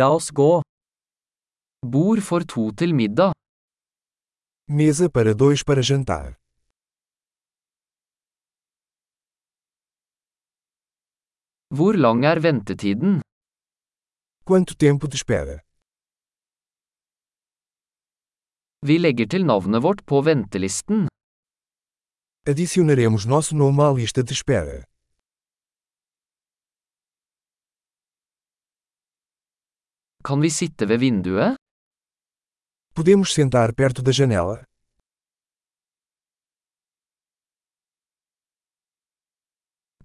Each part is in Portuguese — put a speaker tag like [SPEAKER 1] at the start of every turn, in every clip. [SPEAKER 1] La oss gå. Bord for to til middag.
[SPEAKER 2] Mesa para dois para jantar.
[SPEAKER 1] Hvor lang er ventetiden?
[SPEAKER 2] Quanto tempo de espera?
[SPEAKER 1] Vi legger til navnet vårt på ventelisten.
[SPEAKER 2] Adicionaremos nosso nome à lista de espera.
[SPEAKER 1] Kan vi sitte ved vinduet?
[SPEAKER 2] Podemos sentar perto da janela?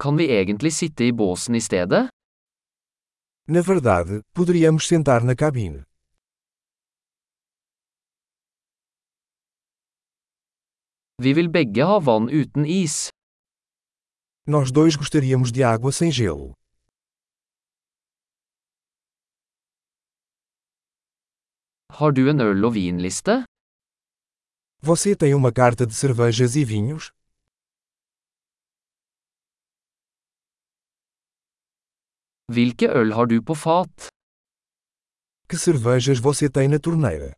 [SPEAKER 1] Kan vi egentlig sitte i båsen i stedet?
[SPEAKER 2] Na verdade, poderíamos sentar na cabine.
[SPEAKER 1] Vi vil begge ha vann uten is.
[SPEAKER 2] Nós dois gostaríamos de água sem gelo.
[SPEAKER 1] Har du en øl- og vinliste?
[SPEAKER 2] Você tem uma carta de cervejas e vinhos?
[SPEAKER 1] Hvilke øl har du på fat?
[SPEAKER 2] Que cervejas você tem na torneira?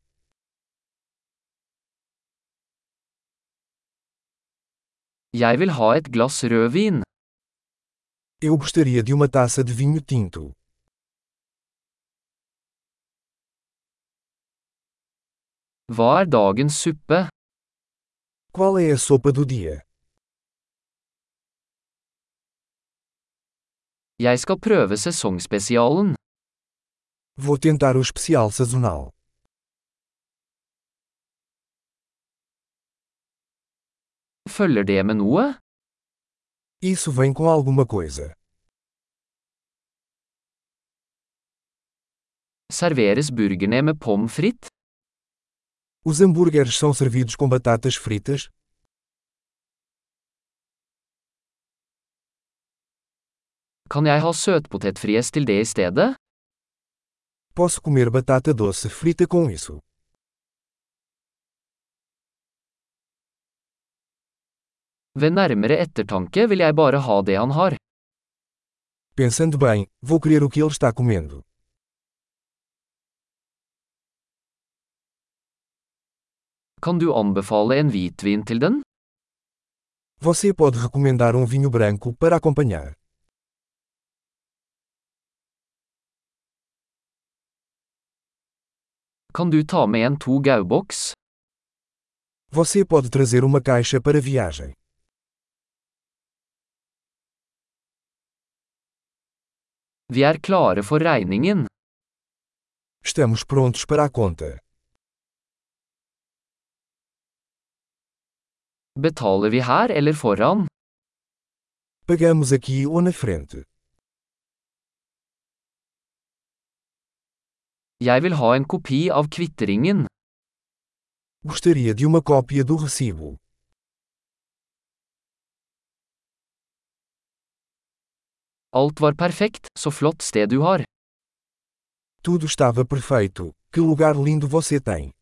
[SPEAKER 1] Jeg vil ha et glass rødvin.
[SPEAKER 2] Eu gostaria de uma taça de vinho tinto.
[SPEAKER 1] Hva er dagens suppe?
[SPEAKER 2] Qual é a sopa do dia?
[SPEAKER 1] Jeg skal prøve sesongspesialen.
[SPEAKER 2] Vou tentar o especial sazonal.
[SPEAKER 1] Følger det med noe?
[SPEAKER 2] Isso vem com alguma coisa.
[SPEAKER 1] Serveres burgerne med pommes frites?
[SPEAKER 2] Os hambúrgueres são servidos com batatas fritas?
[SPEAKER 1] Kan jeg ha søtpotetfries til det i stedet?
[SPEAKER 2] Posso comer batata doce frita com isso.
[SPEAKER 1] Ved nærmere ettertanke vil jeg bare ha det han har.
[SPEAKER 2] Pensando bem, vou querer o que ele está comendo.
[SPEAKER 1] Kan du anbefale en hvitvin til den?
[SPEAKER 2] Você pode recomendar um vinho branco para acompanhar.
[SPEAKER 1] Kan du ta med en to gauboks?
[SPEAKER 2] Você pode trazer uma caixa para viagem.
[SPEAKER 1] Vi er klare for regningen.
[SPEAKER 2] Estamos prontos para a conta.
[SPEAKER 1] Betaler vi her eller foran?
[SPEAKER 2] Pagamos aqui ou na frente.
[SPEAKER 1] Jeg vil ha en kopi av kvitteringen.
[SPEAKER 2] Gostaria de uma cópia do recibo.
[SPEAKER 1] Alt var perfekt, så flott sted du har.
[SPEAKER 2] Tudo estava perfeito. Que lugar lindo você tem!